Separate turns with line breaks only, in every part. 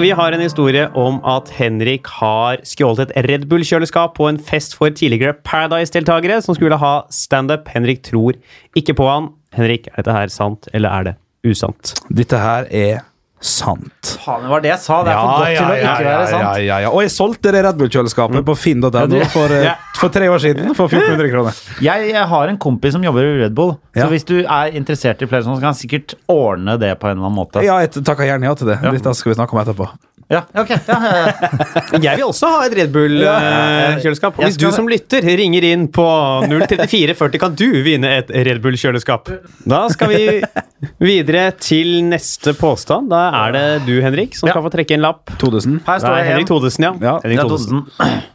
Vi har en historie om at Henrik har skjålet et Red Bull-kjøleskap på en fest for tidligere Paradise-deltakere som skulle ha standup. Henrik tror ikke på han. Henrik, er dette her sant, eller er det usant?
Dette her er sant.
Faen, det var det jeg sa. Det er for godt til å ikke være sant.
ja, ja, ja. Og jeg solgte det Red Bull-kjøleskapet på finn.no
du-
for, eh,
Ja.
for tre år siden for 1400 kroner.
Jeg, jeg har en kompis som jobber i Red Bull,
Ja.
så hvis du er interessert i flere sånne, så kan han sikkert ordne det på en eller annen måte.
Ja, jeg takker gjerne ja til det. Dette skal vi snakke om etterpå.
Ja, ok. Ja, ja, ja.
Jeg vil også ha et Red Bull-kjøleskap.
jeg
Hvis du
skal-
som lytter ringer inn på 03440, kan du vinne et Red Bull-kjøleskap. Da skal vi videre til neste påstand. Da er det du, Henrik, som
Ja.
skal få trekke en lapp.
2000.
Her
Nei,
står det
Henrik
en.
Thodesen, ja.
Ja.
Henrik
Ja,
Thodesen.
Thodesen.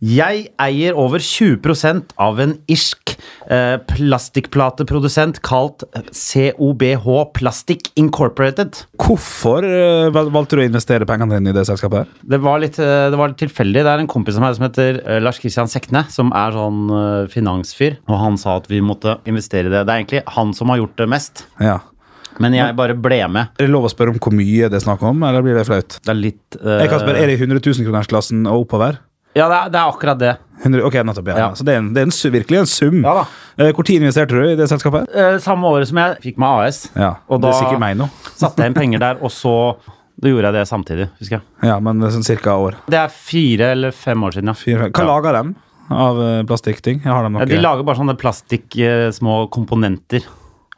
Jeg eier over 20 av en irsk eh, plastikkplateprodusent kalt COBH Plastic Incorporated.
Hvorfor eh, val- valgte du å investere pengene dine i det selskapet? her?
Det var litt, eh, det var litt tilfeldig. Det er en kompis av meg som heter eh, Lars Kristian Sekne, som er sånn eh, finansfyr, og han sa at vi måtte investere i det. Det er egentlig han som har gjort det mest,
Ja.
men jeg bare ble med.
Er det lov å spørre om hvor mye det er snakk om, eller blir det flaut?
Det er litt eh,
Jeg kan spørre, Er det i 100 000-kronersklassen og oppover?
Ja, det er, det er akkurat det.
100, ok, nettopp, ja.
Ja.
Så det er, en, det er en, su- virkelig en sum.
Ja da.
Eh, Hvor tid investerte du i det selskapet?
Eh, Samme året som jeg fikk meg AS,
Ja,
Og
Det
da-
er sikkert meg nå.
satte jeg inn penger der, og så da gjorde jeg det samtidig, husker jeg.
Ja, men det er sånn cirka år.
Det er fire eller fem år siden, ja.
Fire, hva
Ja.
lager dem av eh, plastikkting? Jeg har dem eh.
Ja,
noe.
De lager bare sånne plastikk, eh, små komponenter.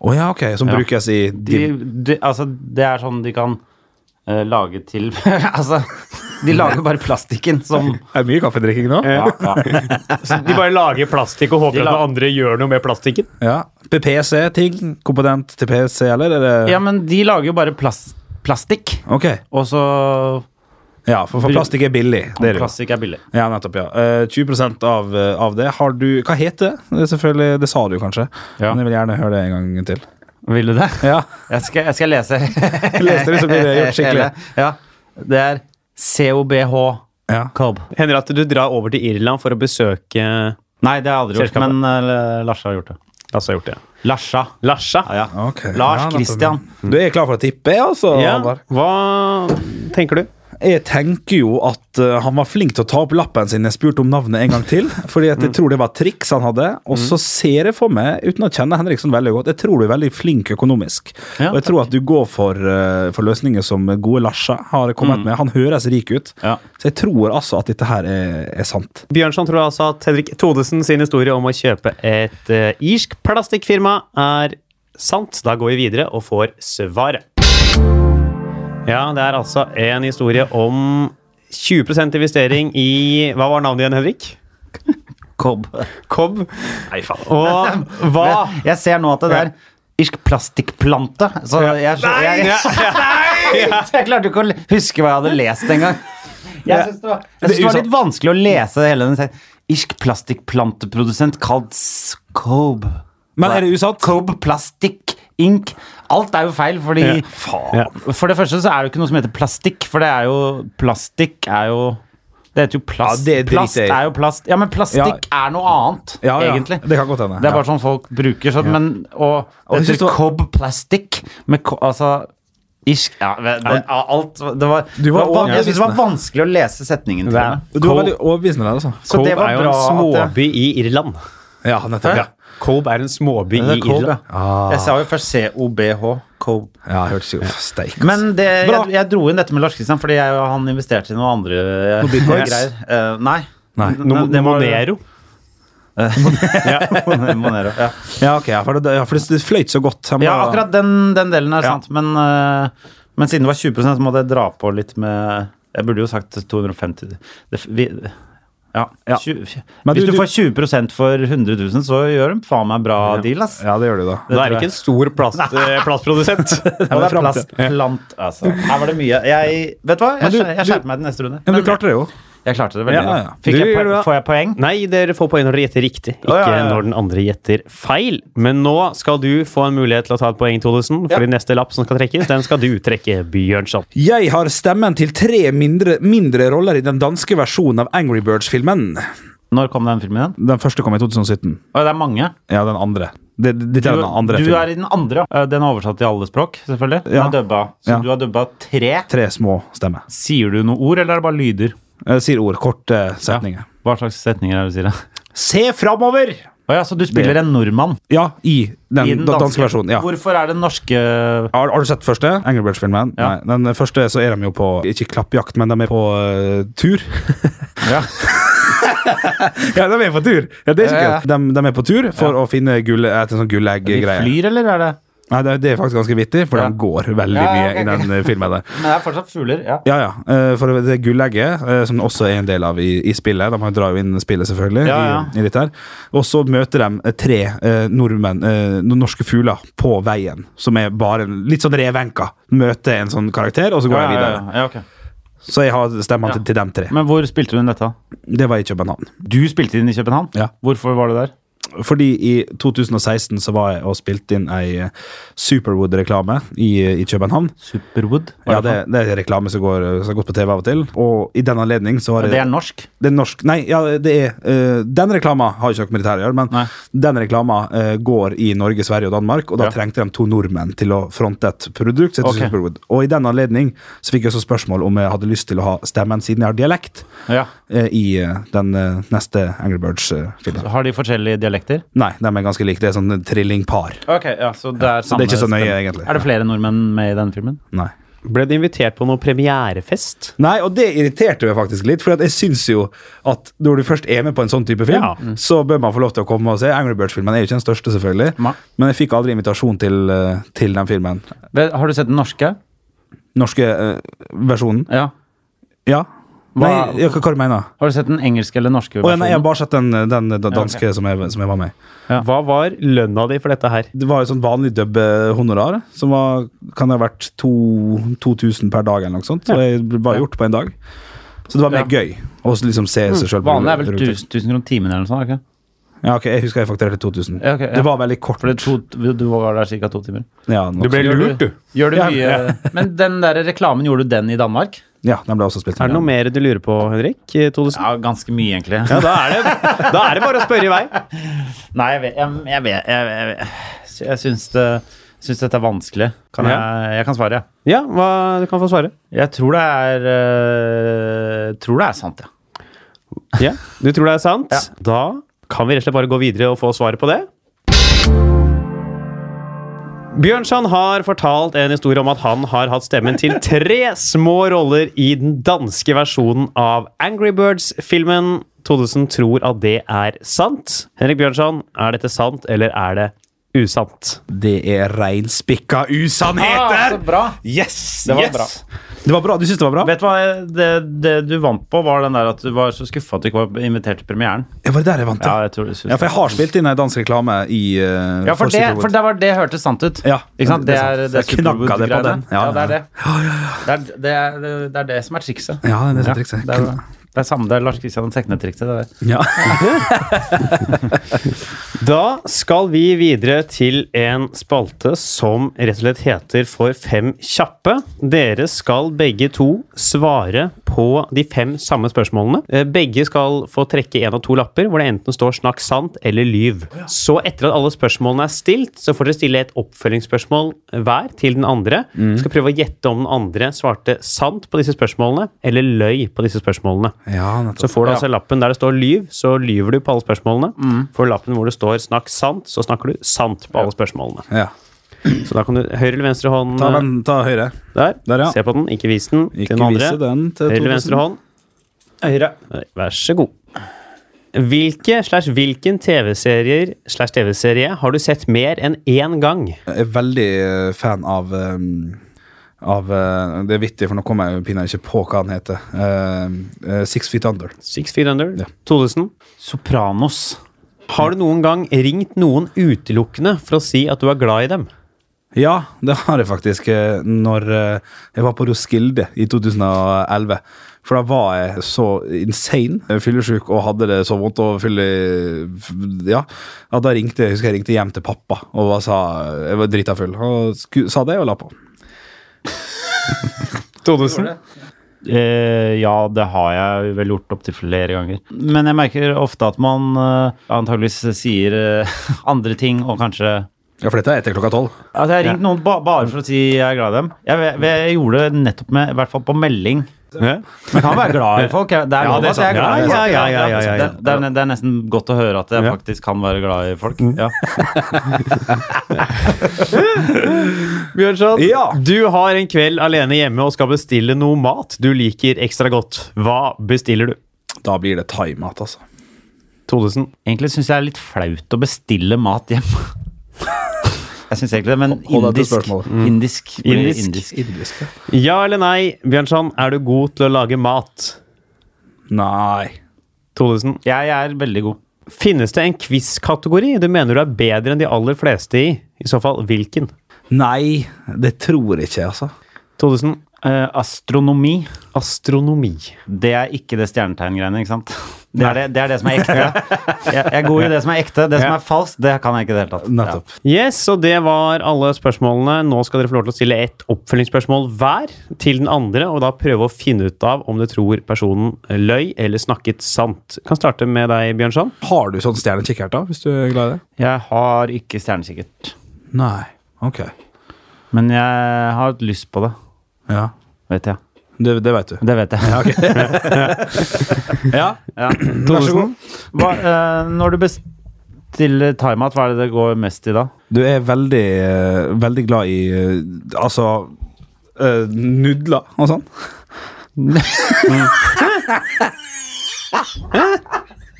Å ja, ok, Som
Ja.
brukes i
De,
de,
de, altså, det er sånn de kan eh, lage til Altså, de lager bare plastikken som
Er det mye kaffedrikking nå?
ja, ja.
De bare lager plastikk og håper
De
at
lag-
noen andre gjør noe med plastikken.
Ja. PPC-ting? Komponent til PC, eller? Er det,
ja, men de lager jo bare plast, plastikk,
Ok.
og så
Ja, for, for plastikk er billig. Det er det jo.
Plastikk er billig.
Ja, nettopp, ja. Eh, 20 av, eh, av det. Har du Hva heter det? det? er Selvfølgelig, det sa du kanskje,
Ja.
men jeg vil gjerne høre det en gang til.
Vil du det?
Ja,
Jeg skal, jeg skal lese.
Les det, så blir det gjort skikkelig.
Ja. Det er COBH.
ja.
Cobb.
Hender det at du drar over til Irland for å besøke
Nei, det har jeg aldri gjort,
Selskapet.
men eh, Larsa har gjort det.
Lasse har gjort det.
Larsa.
Larsa.
Ja, ja.
Ok.
Lars
Ja, nettopp, ja.
Christian.
Du er klar for å tippe, altså?
Ja,
Halvard?
hva tenker du?
Jeg tenker jo at eh, han var flink til å ta opp lappen sin. Jeg spurte om navnet en gang til, fordi at jeg tror det var triks han hadde. Og så ser jeg for meg, uten å kjenne Henriksen veldig godt, jeg tror du er veldig flink økonomisk.
Ja,
og jeg tror at du går for, eh, for løsninger som gode Larsa har kommet med. Han høres rik ut,
Ja.
så jeg tror altså at dette her er, er sant.
Bjørnson tror altså at Henrik Todesen sin historie om å kjøpe et eh, irsk plastikkfirma er sant. Da går vi videre og får svaret. Ja, det er altså en historie om 20 investering i Hva var navnet igjen, Henrik?
Cobb.
Cobb.
Nei, faen.
Og hva
Men Jeg ser nå at det der irsk plastikkplante så jeg, jeg, jeg, jeg klarte ikke å le- huske hva jeg hadde lest engang. Jeg syns det, var- jeg synes det var litt vanskelig å lese hele den serien. Irsk plastikkplanteprodusent kalt Scobe.
Men er det usatt?
Cobe Plastic Inc. Alt er jo feil, fordi
Ja. Ja.
For det første så er det jo ikke noe som heter plastikk, for det er jo Plastikk er jo Det heter jo
Ja,
plast.
det driter
plast
jeg i.
er jo plast. Ja, men plastikk er noe annet,
Ja, ja.
egentlig.
Det kan godt hende.
Det er
Ja.
bare sånn folk bruker. Sånn, men, og
jeg synes
dette
det var-
Cobb Plastic med ko- Altså Irsk ja, det, det- alt Det var, det var,
overbevist,
Jeg synes det var vanskelig å lese setningen til
Nei.
meg.
Du var veldig overbevisende der, altså.
Så det
Cobb
var
er jo
bra
en
at jeg,
småby i Irland.
Ja, nettopp. Ja.
Cobb er en småby
Det
i
er Cobb, ja.
Irland.
jeg sa jo først COBH. Cobb.
Ja, jeg hørte ikke Uff, Steik. ass.
Men det,
Bra.
jeg, jeg dro inn dette med Lars Kristian fordi jeg og han investerte i noen andre eh,
Noen bitcoins?
greier. Eh, nei.
Nei.
N-
No,
det var- Eh,
Monero.
Monero, ja.
Ja, ok, ja, for det, ja, for det det fløyt så godt. Han
ja,
var-
akkurat den, den delen er
Ja.
sant. Men, eh, men siden det var 20 så måtte jeg dra på litt med Jeg burde jo sagt 250 det, vi, ja,
Ja.
20,
Men
Hvis
du-
du,
du-
får 20 for 100 000, så gjør de faen meg bra deal, ass.
Ja, det gjør du, da.
Da er det ikke en stor plast, eh, plastprodusent.
Og det er
frem til-
plast, plant, altså. Her var det mye. Jeg, vet du
Men
hva? Jeg,
du-
skjer- jeg
du-
skjerper meg til neste runde.
Men du
Men
klarte det jo.
Jeg klarte det veldig
Ja,
bra.
ja, ja. Du
Fikk jeg
gjør det
poeng,
bra.
får jeg poeng?
Nei, dere får poeng når dere gjetter riktig, ikke
Å, ja, ja, ja.
når den andre gjetter feil. Men nå skal du få en mulighet til å ta et poeng, Todesen, for de
Ja.
neste lapp som skal trekkes, den skal du trekke, Bjørnson.
Jeg har stemmen til tre mindre, mindre roller i den danske versjonen av Angry Birds-filmen.
Når kom den filmen igjen?
Den første kom i 2017.
Å, det er mange.
Ja, den andre. Det, det, det er den andre
du
filmen.
er i den andre. ja. Eh, Den er oversatt til alle språk, selvfølgelig. Den
Ja.
er dubba. Så
Ja.
du har dubba tre.
Tre små stemmer.
Sier du noe ord, eller er det bare lyder?
Jeg sier ord. Korte setninger.
Hva slags setninger er det du sier? da?
Se framover!
Å ja, så du spiller en nordmann
Ja, i den,
i den
da-
danske,
danske versjonen. Ja.
Hvorfor er den norske
Har, har du sett første? Angry Birds-filmen?
Ja.
Nei. Den første så er de jo på ikke klappjakt, men de er på eh, tur.
ja.
Ja, de er på tur! Ja, det er ikke
Ja, ja.
kult. De, de er på tur for å finne gull, et sånn
De
gullegg-greie.
flyr, eller er det
Nei, det, det er faktisk ganske vittig, for
Ja.
de går veldig
Ja,
mye
ok,
i den eh, filmen der.
Men det er fortsatt fugler, ja.
Ja, ja. eh, For det gullegget, eh, som også er en del av i, i spillet De drar jo inn spillet, selvfølgelig.
Ja,
I, i dette her. Og så møter de eh, tre eh, nordmenn, eh, noen norske fugler, på veien. Som er bare en- litt sånn revenka. Møter en sånn karakter, og så går de
ja, ja,
videre.
ja, ok.
Så jeg har stemmen til, til dem tre.
Men hvor spilte du inn dette?
Det var i København.
Du spilte inn i København?
Ja.
Hvorfor var du der?
Fordi i 2016 så var jeg og spilte inn ei eh, Superwood-reklame i, eh, i København.
Superwood?
Ja, det, det er reklame som går, som går på TV av og til. Og i den anledning så har jeg
det er norsk.
det er norsk Nei, ja, det er eh, Den reklama har ikke noe med militæret å gjøre, men
Nei.
den reklama eh, går i Norge, Sverige og Danmark, og da
Ja.
trengte de to nordmenn til å fronte et produkt. som heter
Ok.
Superwood. Og i den anledning så fikk jeg også spørsmål om jeg hadde lyst til å ha stemmen siden jeg har dialekt,
Ja.
eh, i eh, den eh, neste Angry Birds-filmen.
Har de forskjellige dialekter?
Nei, de er ganske like. Det er sånn trillingpar.
Ok, ja, Så det er,
Så det er ikke så nøye, egentlig.
Er det flere nordmenn med i den filmen?
Nei.
Ble du invitert på noen premierefest?
Nei, og det irriterte meg faktisk litt, for jeg syns jo at når du først er med på en sånn type film,
Ja.
så bør man få lov til å komme og se. Angry Birds-filmen er jo ikke den største, selvfølgelig,
Nei.
men jeg fikk aldri invitasjon til, eh, til den filmen.
Vel, Har du sett den norske?
Norske eh, versjonen?
Ja.
Ja. Nei,
Hva-
ja, hva, hva du mener du?
Har du sett den engelske eller norske
Å, ja, nei, jeg har
versjonen?
bare sett den, eh, den eh, da- danske som, jeg, som jeg var med i.
Hva var lønna di for dette her?
Det var et sånn vanlig dubbe-honorar, som var, kan ha vært to- 2000 per dag, eller noe sånt. Så det var gjort på en dag. Så det var mer gøy å liksom se seg sjøl.
Mm. Vanlig er vel 1000 kroner timen eller noe sånt? er det Ikke?
Ja, ok, Jeg husker jeg fakturerte 2000.
Ja, ok, ja.
Det var veldig kort.
For det er to, du var der ca. to timer.
Ja, nok så-
Gjør Gjør du
Ja,
mye Men den der reklamen, gjorde du den i Danmark?
Ja, den ble også spilt
Er det noe mer du lurer på, Henrik? i 2000?
Ja, ganske mye, egentlig.
Ja, da er, det, da er det bare å spørre i vei.
Nei, jeg vet Jeg, jeg, vet- jeg, jeg, jeg, jeg syns, det, syns dette er vanskelig. Kan jeg, jeg kan svare, ja.
Ja, hva, du kan få svare.
Jeg tror det er øh, Tror det er sant, ja.
Ja, Du tror det er sant?
Ja.
Da kan vi rett og slett bare gå videre og få svaret på det. Bjørnson har fortalt en historie om at han har hatt stemmen til tre små roller i den danske versjonen av Angry Birds-filmen. Todesen tror at det er sant. Henrik Bjørnson, er dette sant, eller er det usant?
Det er reinspikka usannheter!
Ah, bra.
yes!
Det var
yes.
bra.
Det var bra. Du syns det var bra?
Vet du hva jeg- det, det du vant på, var den der at du var så skuffa at du ikke var invitert til premieren.
Ja, var det der jeg vant?
Ja,
Ja,
jeg tror det synes
ja, for jeg har spilt inn ei dansk reklame i eh,
Ja, for, det,
Superwood.
for det, var, det hørtes sant ut.
Ja,
ikke sant?
det
Det
er sant.
er, det er
Jeg knakka det på
Superwood-greiene.
den.
Ja,
Ja,
det er
ja,
det. Det er det, er, det er det som er trikset.
Ja, det er det som er
Ja,
trikset.
det, er, det er samme, det er Lars Kristian Tekne-trikset. det der.
Ja.
Da skal vi videre til en spalte som rett og slett heter For fem kjappe. Dere skal begge to svare på de fem samme spørsmålene. Eh, Begge skal få trekke én av to lapper hvor det enten står 'snakk sant' eller 'lyv'. Så etter at alle spørsmålene er stilt, så får dere stille et oppfølgingsspørsmål hver til den andre. Skal prøve å gjette om den andre svarte sant på disse spørsmålene eller løy på disse spørsmålene.
ja,
Så
nettopp.
får du altså lappen der det står lyv, så lyver du på alle spørsmålene. Får du lappen hvor det står snakk sant, så snakker du sant på alle spørsmålene.
Ja.
Så da kan du høyre eller venstre hånd
Ta, den, ta høyre.
der.
Der, ja.
Se på den, ikke vis den
Ikke
til den andre.
vise den til
høyre eller
2000.
venstre hånd. Høyre. Vær så god. Hvilke slash hvilken TV-serier slash TV-serie har du sett mer enn én gang?
Jeg er veldig eh, fan av eh, av, eh, Det er vittig, for nå kommer jeg pinadø ikke på hva den heter. Eh, eh, Six Feet Under.
Six Feet Under?
Ja.
2000?
Sopranos.
Har du noen gang ringt noen utelukkende for å si at du er glad i dem?
Ja, det har jeg faktisk. eh, Når eh, jeg var på Roskilde i 2011. For da var jeg så insane eh, fyllesyk og hadde det så vondt og fylle... f- Ja. At da ringte jeg husker jeg ringte hjem til pappa og var- sa jeg var drita full. Og sku, sa det og la på.
2000?
Eh, ja, det har jeg vel gjort opptil flere ganger. Men jeg merker ofte at man eh, antageligvis sier eh, andre ting og kanskje
Ja, for dette er etter klokka tolv.
Altså, jeg har ringt noen ba bare for å si jeg er glad i dem. Jeg, jeg, jeg gjorde det nettopp med, i hvert fall på melding.
Ja.
Man kan være glad i folk. jeg- Det er
Ja,
lov
det er
at jeg er
sant.
glad i
Ja,
folk.
ja, ja, ja, ja, ja.
Det, det, er, det er nesten godt å høre at jeg
Ja. Mm.
faktisk kan være glad i folk. Ja.
Bjørnson,
Ja.
du har en kveld alene hjemme og skal bestille noe mat du liker ekstra godt. Hva bestiller du?
Da blir det thaimat, altså.
2000.
Egentlig syns jeg det er litt flaut å bestille mat hjem. Jeg syns egentlig det, men
Hold deg til
indisk.
spørsmålet.
Indisk. blir
Mm. Indisk.
indisk.
Indisk, ja.
Ja eller nei, Bjørnson, er du god til å lage mat?
Nei.
2000.
Jeg er veldig god.
Finnes det en quiz-kategori du mener du er bedre enn de aller fleste i? I så fall, hvilken?
Nei, det tror jeg ikke, altså.
2000.
Eh, astronomi.
Astronomi.
Det er ikke det stjernetegngreiene, ikke sant? Det er det, det er det som er ekte. Jeg, jeg er god i det som er ekte. Det som
Ja.
er falskt, det kan jeg ikke i det hele tatt. Ja.
Nettopp.
Yes, og det var alle spørsmålene. Nå skal dere få lov til å stille ett oppfølgingsspørsmål hver til den andre, og da prøve å finne ut av om du tror personen løy eller snakket sant. Kan starte med deg, Bjørnson.
Har du sånn stjernekikkert, da, hvis du er glad i det?
Jeg har ikke stjernekikkert,
Nei. Ok.
men jeg har hatt lyst på det.
Ja.
Vet jeg.
Det, det veit du.
Det vet jeg.
Ja.
Ja.
Vær så god.
Hva, eh, når du bestiller thaimat, hva er det det går mest i da?
Du er veldig, eh, veldig glad i eh, Altså eh, nudler og sånn.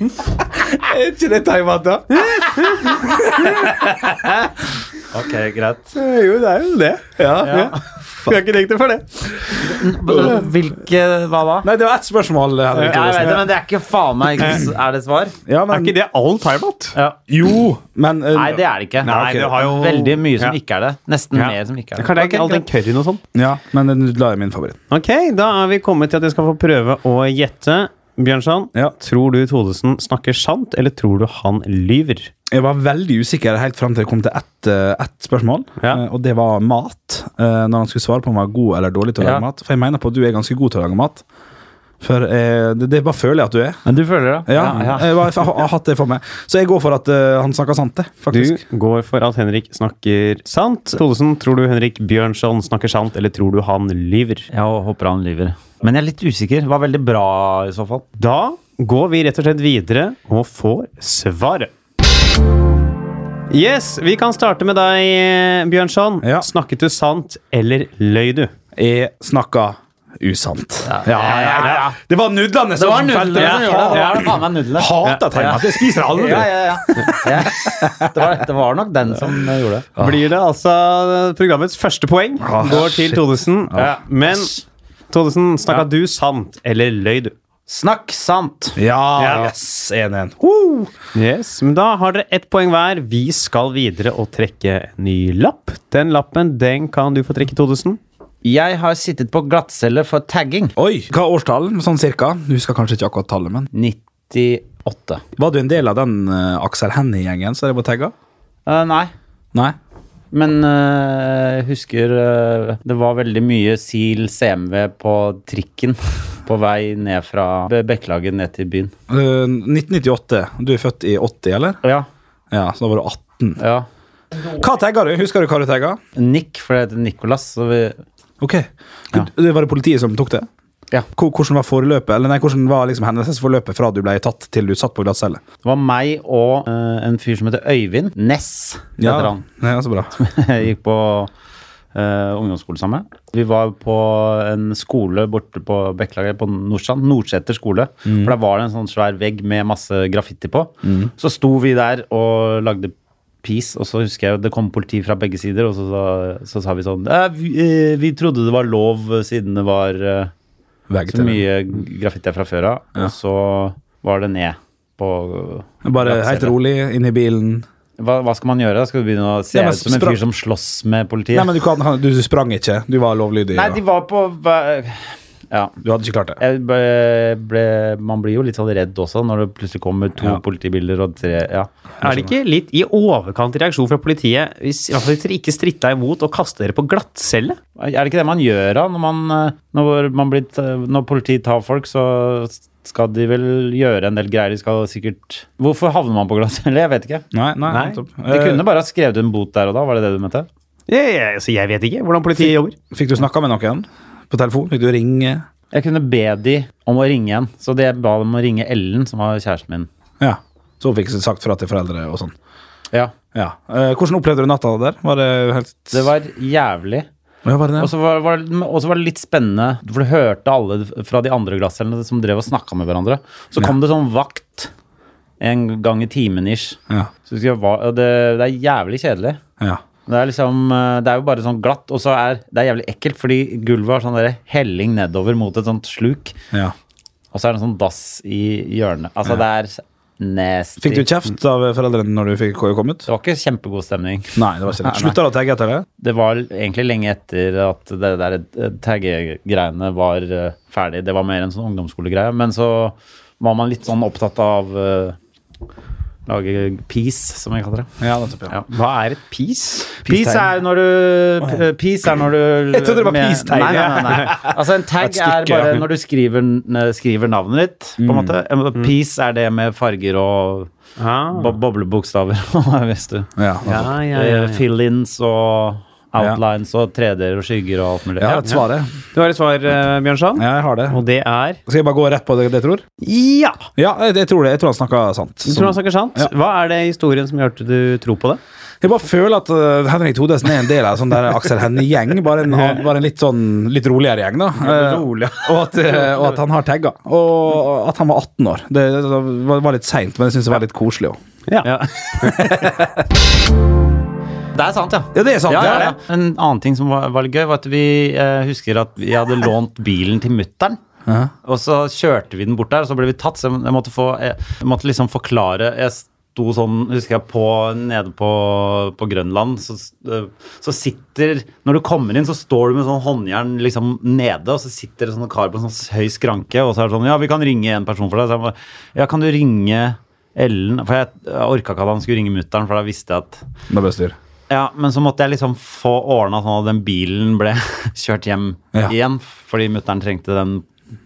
er ikke det thaimat, da?
Ok, greit.
Jo, det er jo det. Ja, ja. Skulle jeg ikke tenkt det for det.
Hvilke Hva da?
Nei, det var ett spørsmål. eh, Henrik
jeg vet det,
Thoresen.
men det er ikke faen meg ikke, s- Er det svar?
Ja, men,
Er ikke det all timeout?
Eh. Ja.
Jo, men eh,
Nei, det er det ikke.
Nei,
det har jo-
Veldig mye som
Ja.
ikke er det. Nesten
Ja.
mer som ikke er det.
Kan det ikke all den
greit.
curryen og sånn?
Ja, men nudler er min favoritt.
Ok, da er vi kommet til at jeg skal få prøve å gjette. Bjørnson,
Ja.
tror du Thodesen snakker sant, eller tror du han lyver?
Jeg var veldig usikker helt fram til jeg kom til ett, eh, ett spørsmål,
Ja.
eh, og det var mat. eh, Når han skulle svare på om han var god eller dårlig til å
Ja.
lage mat. For jeg mener på at du er ganske god til å lage mat. For eh, det, det bare føler jeg at du er.
Men du føler det?
Ja, Jeg, var, jeg har hatt det for meg. Så jeg går for at eh, han snakker sant, det,
Du
faktisk.
går for at Henrik snakker sant. Thodesen, tror du Henrik Bjørnson snakker sant, eller tror du han lyver?
Jeg håper han lyver. Men jeg er litt usikker. Var veldig bra i så fall.
Da går vi rett og slett videre og får svaret. Yes, vi kan starte med deg, Bjørnson.
Ja.
Snakket du sant, eller løy du?
Jeg snakker usant. Ja,
ja, ja.
Det var nudlene som felte.
Ja,
Jeg
ja, det var det faen meg nudlene.
hater tegnet. Det spiser jeg aldri.
Ja, ja, ja. ja. Det, var, det var nok den som eh, gjorde det.
Blir det altså programmets første poeng.
Ah,
Går til
shit.
Thodesen. Men Thodesen, snakka du sant, eller løy du?
Snakk sant!
Ja,
Ja.
yes, 1-1.
Yes, men Da har dere ett poeng hver. Vi skal videre og trekke en ny lapp. Den lappen den kan du få trekke, Thodesen.
Jeg har sittet på glattcelle for tagging.
Oi, hva er årstallen? Sånn cirka? Du husker kanskje ikke akkurat tallet, men
98.
Var du en del av den eh, Aksel Hennie-gjengen som er på tagga?
Eh, nei,
Nei?
men eh, jeg husker eh, det var veldig mye Sil CMV på trikken på vei ned fra Be- Bekkelaget ned til byen.
Eh, 1998. Du er født i 80, eller?
Ja,
Ja, så da var du 18.
ja.
Hva tagga du? Husker du hva du tagga?
Nick, for det heter Nicolas. Så vi,
Ok. Det var det politiet som tok det?
Ja.
Hvor- Hvordan var forløpet, eller nei, hvordan var liksom hendelsesforløpet fra du ble tatt til du satt på glattcelle?
det var meg og eh, en fyr som heter Øyvind Ness. heter han.
ja, så bra.
Jeg gikk på eh, ungdomsskole sammen. Vi var på en skole borte på Bekkelaget, på Nordstrand. Nordseter skole.
Mm.
For der var det en sånn svær vegg med masse graffiti på. Så sto vi der og lagde peace, og så husker jeg det kom politi fra begge sider, og så, sa- så sa vi sånn «Eh, vi, eh, vi trodde det var lov eh, siden det var eh,
Vegg
så
til det.
mye graffiti fra før av. Og så var det ned på
Bare helt rolig inn i bilen.
hva, hva skal man gjøre? Skal du begynne å se
Ja, men
ut som en
spra-
fyr som slåss med politiet?
Nei, men du, kan, du sprang ikke. Du var lovlydig.
Nei,
da.
de Eh, var på hva- Ja.
Du hadde ikke klart det.
Jeg ble, ble, man blir jo litt sånn redd også når det plutselig kommer to
Ja.
politibiler og tre Ja.
Er det ikke litt i overkant reaksjon fra politiet hvis, i hvert fall hvis dere ikke stritta imot og kaster dere på glattcelle?
Er det ikke det man gjør da? Når, man, eh, når, man blir, t- når politiet tar folk, så skal de vel gjøre en del greier. De skal sikkert Hvorfor havner man på glass? Eller jeg vet ikke.
Nei, nei,
Nei.
nettopp.
De
Eh,
kunne bare ha skrevet en bot der og da, var det det du mente?
Jeg, jeg, så jeg vet ikke hvordan politiet jobber.
Eh, Fikk du snakka med noen på telefon? Fikk du ringe?
Jeg kunne be de om å ringe en, så det jeg ba dem å ringe Ellen, som var kjæresten min.
Ja. Så fikk du sagt fra til foreldre og sånn.
Ja.
Ja. Eh, hvordan opplevde du natta der? Var det helt
Det var jævlig.
ja, var det det?
Og så var, var, og så var det litt spennende, for du hørte alle fra de andre glasscellene som drev og snakka med hverandre. Så kom det sånn vakt en gang i timen ish.
Ja.
Så husker jeg hva- og det, det er jævlig kjedelig.
ja.
Det er, liksom, eh, det er jo bare sånn glatt, og så er det er jævlig ekkelt, fordi gulvet har sånn der helling nedover mot et sånt sluk,
ja.
og så er det en sånn dass i hjørnet. Altså, det er Nasty.
Fikk du kjeft av foreldrene når du fikk kom ut?
Det var ikke kjempegod stemning.
Nei, det var ikke det.
Nei, nei.
Slutta du å tagge etter det?
Det var egentlig lenge etter at det der eh, taggegreiene var eh, ferdig. Det var mer en sånn ungdomsskolegreie. Men så var man litt sånn opptatt av eh, lage peace, som jeg kaller det.
Ja, nettopp,
Ja.
Hva er et pis?
Peace er når du p- Peace er når du
Jeg trodde det var peace-tegn,
Nei, nei, nei, nei. Altså, en tag
Et stykke,
er bare
ja.
når du skriver, n- eh, skriver navnet ditt, på en måte. En- Peace er det med farger og
Ah.
bo boblebokstaver, hvis du
Ja,
Ja,
nettopp.
ja, ja, ja.
Eh, Fill-ins og outlines og 3D-er og skygger og alt mulig.
Jeg har et svar, jeg.
Du har et svar, eh, Bjørnson,
Ja, jeg har det.
og det er
Skal jeg bare gå rett på det det jeg tror?
Ja!
Ja, jeg, jeg tror det. Jeg tror han snakka sant. Sånn.
Du tror han snakker sant? Hva er det i historien som gjør at du tror på det?
Jeg bare føler at eh, Henrik Thodesen er en del av en sånn der Aksel Hennie-gjeng. Bare, en annen- bare en litt sånn litt roligere gjeng, da. Eh, og, at, eh, og at han har tagga. Og at han var 18 år. Det, det var- var litt seint, men jeg syns det var litt koselig òg.
Ja.
Det er sant, ja.
Ja, det er sant.
Ja, ja,
det
ja.
er det.
En annen ting som var, var litt gøy, var at vi eh, husker at vi hadde lånt bilen til mutter'n.
Ja.
Og så kjørte vi den bort der, og så ble vi tatt. Så jeg måtte, få, jeg måtte liksom forklare Jeg sto sånn, husker jeg, på, nede på, på Grønland. Så, eh, så sitter Når du kommer inn, så står du med sånn håndjern liksom nede, og så sitter det sånn en kar på en sånn høy skranke, og så er det sånn Ja, vi kan ringe en person for deg. Så jeg bare, ja, kan du ringe Ellen? For jeg, jeg orka ikke at han skulle ringe mutter'n, for da visste jeg at
Det ble styr.
ja, men så måtte jeg liksom få ordna sånn at den bilen ble kjørt hjem
Ja.
igjen, fordi mutter'n trengte den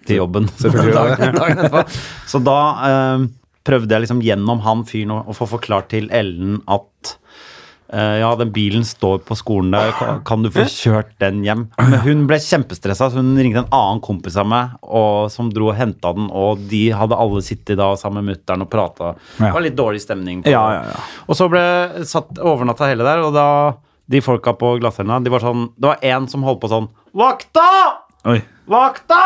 til jobben.
Selvfølgelig.
dagen, dagen etterpå. Så da eh, prøvde jeg liksom gjennom han fyren å, å få forklart til Ellen at eh, ja, den bilen står på skolen der, kan, kan du få kjørt den hjem? Men hun ble kjempestressa, så hun ringte en annen kompis av meg og, som dro og henta den, og de hadde alle sittet da sammen med mutter'n og prata.
Ja.
Det var litt dårlig stemning. på-
Ja, ja, ja.
og så ble satt overnatta hele der, og da de folka på glattcella, de var sånn Det var én som holdt på sånn Vakta!
Oi.
Vakta!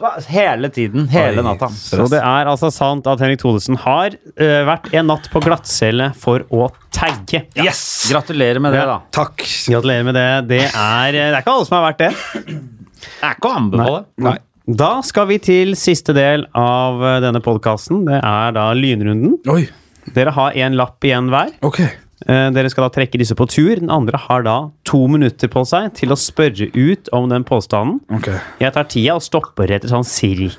Hva- Hele tiden. Hele
Oi,
natta.
Så det er altså sant at Henrik Thodesen har eh, vært en natt på glattcelle for å tagge.
Yes!
Gratulerer med det, da.
Takk.
Gratulerer med det. Det er, eh, det er ikke alle som har vært det.
Det er ikke å anbefale.
Nei.
Da skal vi til siste del av eh, denne podkasten. Det er da lynrunden.
Oi.
Dere har én lapp igjen hver.
Ok.
Eh, Dere skal da trekke disse på tur. Den andre har da to minutter på seg til å spørre ut om den påstanden.
Ok.
Jeg tar tida og stopper etter sånn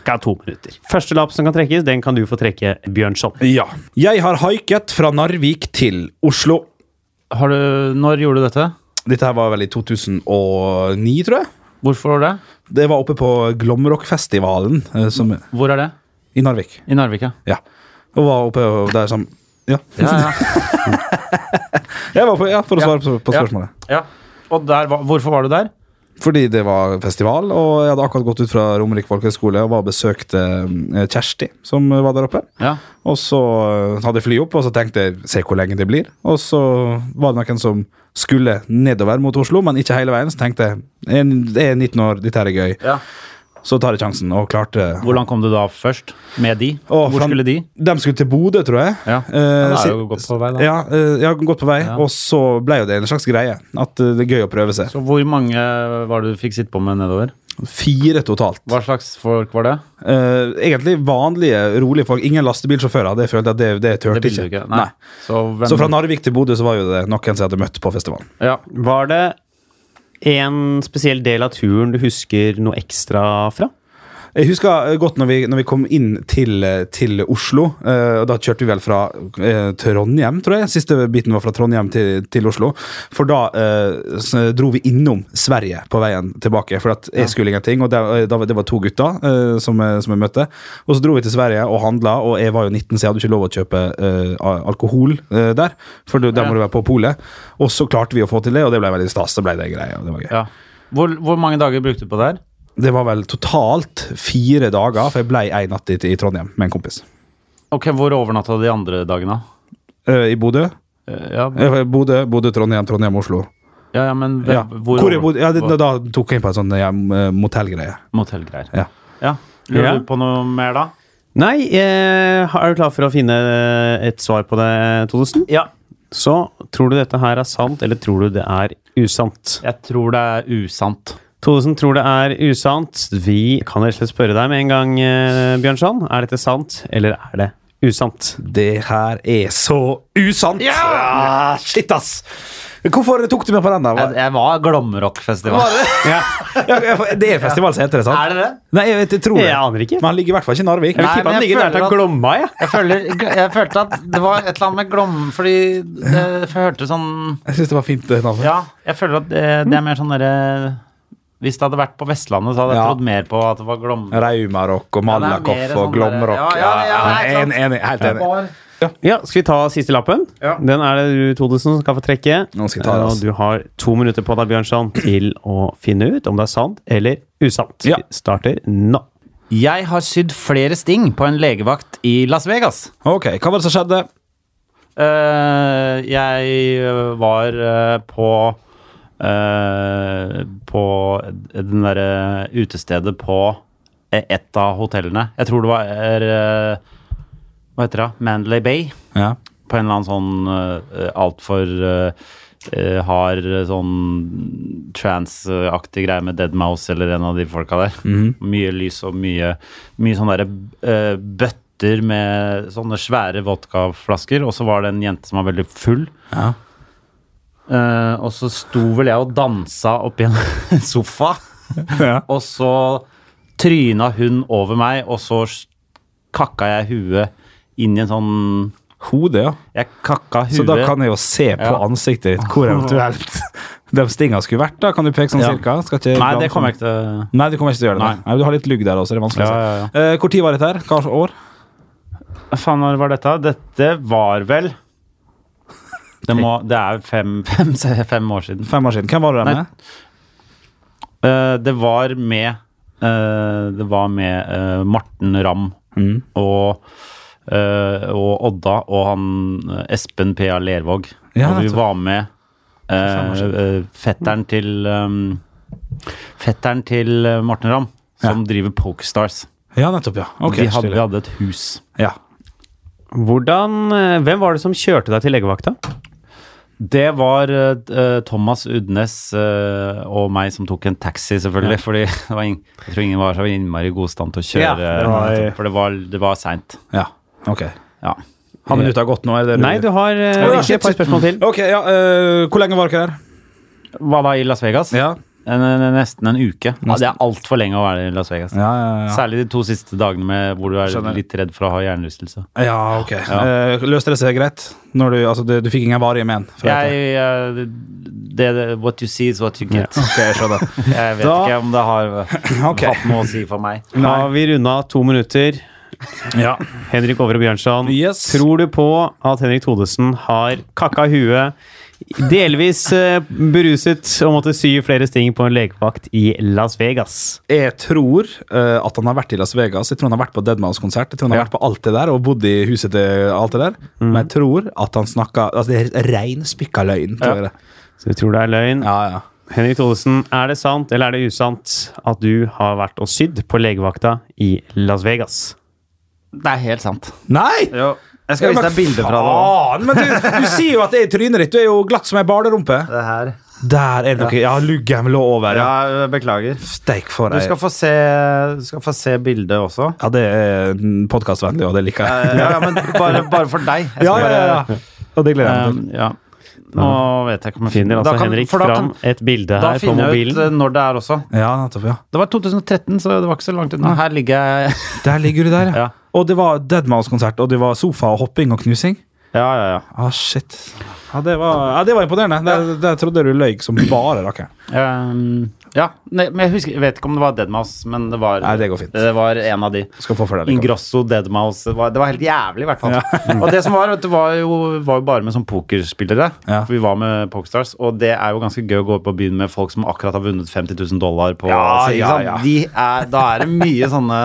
ca. to minutter. Første lapp som kan trekkes, den kan du få trekke, Bjørnson.
Ja. Jeg har haiket fra Narvik til Oslo.
Har du, når gjorde du dette?
Dette her var vel i 2009, tror jeg.
Hvorfor var det?
Det var oppe på Glomrockfestivalen eh, som,
Hvor er det?
i Narvik.
I Narvik, ja.
Ja. Og var oppe og der som Ja.
Ja, ja.
Jeg var på, ja for å
Ja.
svare på, på spørsmålet.
ja. Og der, var- hvorfor var du der?
Fordi det var festival, og jeg hadde akkurat gått ut fra Romerike folkehøgskole og var og besøkte eh, Kjersti, som var der oppe.
Ja.
Og så eh, hadde jeg fly opp, og så tenkte jeg se hvor lenge det blir. Og så var det noen som skulle nedover mot Oslo, men ikke hele veien. Så tenkte jeg jeg er 19 år, dette her er gøy.
Ja.
Så tar jeg sjansen, og klarte
Hvordan kom du da først? Med de?
Å,
Hvor
fra-
skulle de?
De skulle til Bodø, tror jeg.
Ja.
Eh,
da er
så-
det jo godt på vei, da.
Ja, eh, ja, godt på vei. Og så ble jo det en slags greie. At eh, det er gøy å prøve seg.
Så hvor mange var det du fikk sitte på med nedover?
Fire totalt.
Hva slags folk var det?
Eh, egentlig vanlige, rolige folk. Ingen lastebilsjåfører. Det følte jeg at det, det tørte
Det ville du ikke. Nei. Så, hvem,
Så fra Narvik til Bodø så var jo det noen som jeg hadde møtt på festivalen.
ja.
Var det en spesiell del av turen du husker noe ekstra fra?
Jeg husker eh, godt når vi, når vi kom inn til, eh, til Oslo. eh, og Da kjørte vi vel fra eh, Trondheim, tror jeg. Siste biten var fra Trondheim til, til Oslo. For da eh, s- dro vi innom Sverige på veien tilbake. For at jeg skulle ingenting, og det, da, det var to gutter eh, som, jeg- som jeg møtte. Og så dro vi til Sverige og handla, og jeg var jo 19, så jeg hadde ikke lov å kjøpe eh, al- alkohol eh, der. For du- der må du være på polet. Og så klarte vi å få til det, og det ble veldig stas. Så ble det greia. og Det var gøy.
ja. Hvor, hvor mange dager brukte du på det her?
Det var vel totalt fire dager, for jeg blei ei natt i, i Trondheim med en kompis.
Ok, Hvor overnatta de andre dagene?
Eh, I Bodø.
Eh, Ja,
Eh, Bodø, Bodø, Trondheim, Trondheim, Oslo.
ja, ja men hvem,
Ja. Hvor, jeg bodde, ja, det, da tok jeg inn på en sånn ja, m- motellgreie.
Motellgreier.
Ja.
Ja. Lurer
Ja.
du på noe mer da?
Nei, eh, er du klar for å finne et svar på det, Thodesen?
Ja.
Så tror du dette her er sant, eller tror du det er usant?
Jeg tror det er usant.
Thodesen tror det er usant. Vi kan rett og slett spørre deg med en gang, eh, Bjørnson. Er dette sant, eller er det usant.
Det her er så usant!
Ja!
Shit, ass! Hvorfor tok du meg på den? der?
Jeg, jeg var Glomrockfestival.
Ja.
Ja, ja, Det er festival som heter det, sant?
Er det det?
Nei, jeg, vet, jeg tror det.
Jeg aner ikke.
Men han ligger i hvert fall ikke i Narvik.
Jeg vil
Nei,
tippe
men
han
jeg
ligger der
føler
til
at-
Glomma, jeg.
Jeg, føler, jeg følte at det var et eller annet med Glom Fordi det, for jeg hørte sånn
Jeg syns det var fint. eh, det navnet.
Ja, jeg føler at det, det er mer sånn derre Hvis det hadde vært på Vestlandet, så hadde jeg
Ja.
trodd mer på at det var Glom.
Raumarock og
det er
Malakoff
mer sånn
og Glomrock.
der- ja, ja, ja,
jeg er enig, enig, helt enig.
Ja, Skal vi ta siste lappen?
Ja.
Den er det du, Todesen, som skal få trekke. Eh,
Nå skal jeg ta det, ass.
Og du har to minutter på deg, Bjørnson, til å finne ut om det er sant eller usant.
Ja.
Vi starter nå.
Jeg har sydd flere sting på en legevakt i Las Vegas.
Ok, Hva var det som skjedde?
Eh, jeg eh, var eh, på eh, På den derre utestedet på eh, et av hotellene. Jeg tror det var eh, Hva heter det? Mandalay Bay.
Ja.
På en eller annen sånn uh, altfor uh, hard eh, sånn trans-aktig greie med Dead Mouse eller en av de folka der.
Mhm.
Mye lys og mye, mye sånne derre eh, bøtter med sånne svære vodkaflasker, og så var det en jente som var veldig full.
Ja.
Eh, og så sto vel jeg og dansa oppi en sofa,
Ja.
og så tryna hun over meg, og så s- kakka jeg huet inn i en sånn
Hodet, ja.
jeg kakka huet
Så da kan jeg jo se på
Ja.
ansiktet ditt hvor eventuelt de stinga skulle vært. da Kan du peke sånn
Ja.
cirka? Skal ikke sånn-
Nei, det kommer jeg ikke til.
Nei, du kommer ikke til å gjøre det.
Nei.
Nei. Nei, Du har litt lugg der også. det er vanskelig å
Ja,
si.
ja,
Eh, Hvor tid var dette her? Hva slags år?
Hva faen når var dette? Dette var vel Det, må, det er fem, fem, fem år siden.
Fem år siden. Hvem var du der
Nei.
med?
Eh, det var med eh, Det var med eh, Morten Ramm og eh, og Odda og han eh, Espen P.A. Lervåg.
Ja,
og vi
nettopp.
var med eh,
faen, hva
eh, fetteren til um, Fetteren til eh, Morten Ramm, som driver Pokestars.
Ja, nettopp, ja. Ok,
vi, hadde, vi
stilig.
hadde et hus.
ja.
Hvordan, eh, hvem var det som kjørte deg til legevakta?
Det var eh, eh, Thomas Udnes eh, og meg som tok en taxi, selvfølgelig. Fordi det var ing- jeg tror ingen var så innmari god stand til å kjøre. eh,
Ja, det
var-
for det var, det var seint.
ja. Ok.
Ja.
Har minutta gått nå? Er det det
Nei, du har eh,
Å, ja,
ikke
shit,
et par
shit.
spørsmål til.
Ok, ja. eh, hvor lenge var dere der?
Hva da, i Las Vegas?
Ja.
En, en, nesten en uke. Ja, det er altfor lenge å være i Las Vegas.
Ja, ja, ja.
Særlig de to siste dagene med, hvor du er
Skjønner.
litt redd for å ha hjernerystelse.
ja ok. Eh, løste det seg greit? Når du, altså, du, du fikk ingen varige men? fra dette?
Jeg, eh, det, det, what you see is what you get.
Ok, jeg skjønner.
Jeg vet
Da-
ikke om det har
Ok.
hatt noe å si for meg.
Da har vi runda to minutter.
Ja.
Henrik Over og Bjørnson,
Yes.
tror du på at Henrik Thodesen har kakka huet, delvis eh, beruset og måtte sy flere sting på en legevakt i Las Vegas?
Jeg tror eh, at han har vært i Las Vegas. Jeg tror han har vært på Deadmans-konsert. Jeg tror han har
Ja. Mhm.
vært på alt det der og bodd i huset til alt det der. Men jeg tror at han snakka altså, Det er rein spikka løgn. Tror jeg det.
Så vi tror det er løgn.
Ja, ja.
Henrik Thodesen, er det sant eller er det usant at du har vært og sydd på legevakta i Las Vegas?
Det er helt sant.
Nei!
Jeg skal vise deg bilder fra det òg.
Faen, men du, du sier jo at det er i trynet ditt. Du er jo glatt som ei balerumpe.
Det her.
Der er det noe. Ja, luggen lå over. Ja.
Ja, beklager.
Steik for
Du
ei.
skal få se, du skal få se bildet også.
Ja, det er podkastvennlig, og det liker jeg.
Eh, Ja, ja, men bare, bare for deg. Jeg skal
Ja, ja, ja, ja. Og det gleder
bare-
jeg meg til.
Um, ja. Nå vet jeg ikke om jeg
Finner altså
Da kan-
Henrik
for da
fram
kan-
et bilde
Da
her på
finner jeg ut eh,
mobilen.
når det er også.
Ja, nettopp, ja.
Det var 2013, så det var ikke så langt unna. Her ligger jeg
Der ligger du der, ja.
Ja.
Og det var Deadmans-konsert, og det var sofa og hopping og knusing.
Ja, ja, ja.
Ah, shit. Ja, det var, ja, det var imponerende. Der, der trodde du løy som bare rakkeren.
Um, ja. Nei, men jeg husker, jeg vet ikke om det var Deadmouse, men det var,
Nei, det går fint.
det var en av de.
Skal få for deg likevel.
Ingrosso, Deadmouse det var, det var helt jævlig, i hvert fall. og det som var, vet du, var jo, var jo bare med sånn pokerspillere.
Ja.
For Vi var med Pokestars, og det er jo ganske gøy å gå på byen med folk som akkurat har vunnet 50 000 dollar på
Ja,
så, ikke
ja,
sant?
ja.
De er, Da er det mye sånne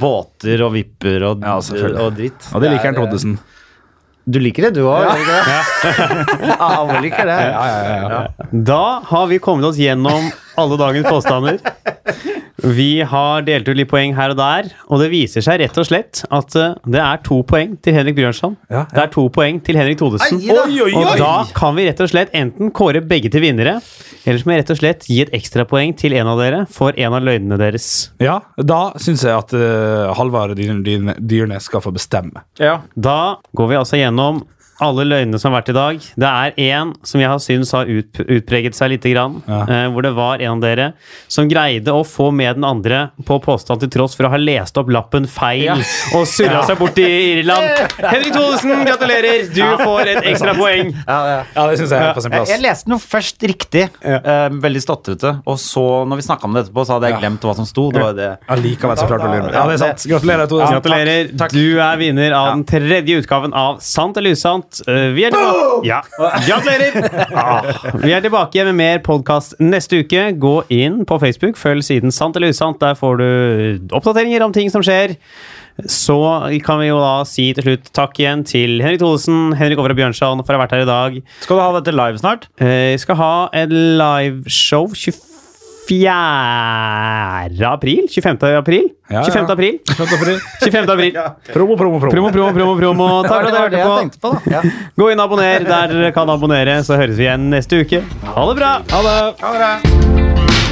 båter og vipper og,
Ja, selvfølgelig.
og dritt.
Og det liker
er-
han Toddesen.
Du liker det, du òg? Ja. Alle liker det.
Da har vi kommet oss gjennom alle dagens påstander. Vi har delt ut litt poeng her og der, og det viser seg rett og slett at eh, det er to poeng til Henrik Bjørnson.
Ja, ja.
Det er to poeng til Henrik Thodesen.
Ai, da.
Og da kan vi rett og slett enten kåre begge til vinnere, Ellers må jeg rett og slett gi et ekstrapoeng til en av dere for en av løgnene deres.
Ja, da syns jeg at eh, Halvard Dyr- Dyr- Dyrnes skal få bestemme.
Ja.
Da går vi altså gjennom alle løgnene som har vært i dag. Det er én som jeg har syntes har ut, utpreget seg lite grann.
Ja.
Eh, hvor det var en av dere som greide å få med den andre på påstand til tross for å ha lest opp lappen feil
Ja.
og surra seg bort i Irland. Henrik Thodesen, gratulerer! Du får et ekstra poeng.
Ja, ja.
Ja, det syns jeg er på sin
Jeg,
plass.
jeg leste den jo først riktig, eh, veldig stotrete, og så, når vi snakka om det etterpå, så hadde jeg
Ja.
glemt hva som sto. Det var det.
Allikevel så klarte du å lure meg. Ja, det er sant. Gratulerer, Todesen.
Gratulerer. Du er vinner av den tredje utgaven av Sant eller usant. Eh, Vi er tilbake ja. Gratulerer! Ah. Vi er tilbake med mer podkast neste uke. Gå inn på Facebook, følg siden Sant eller usant. Der får du oppdateringer om ting som skjer. Så kan vi jo da si til slutt takk igjen til Henrik Thodesen, Henrik Over og Bjørnson for å ha vært her i dag.
Skal du ha dette live snart?
Eh, Vi skal ha et liveshow 24. april? 25. april?
Ja, ja.
25. april? 25. april.
Promo, promo, promo.
Promo, promo, promo, promo. Takk for at dere hørte på.
på, da. Ja.
Gå inn og abonner der dere kan abonnere, så høres vi igjen neste uke. Ha det bra!
Ha det.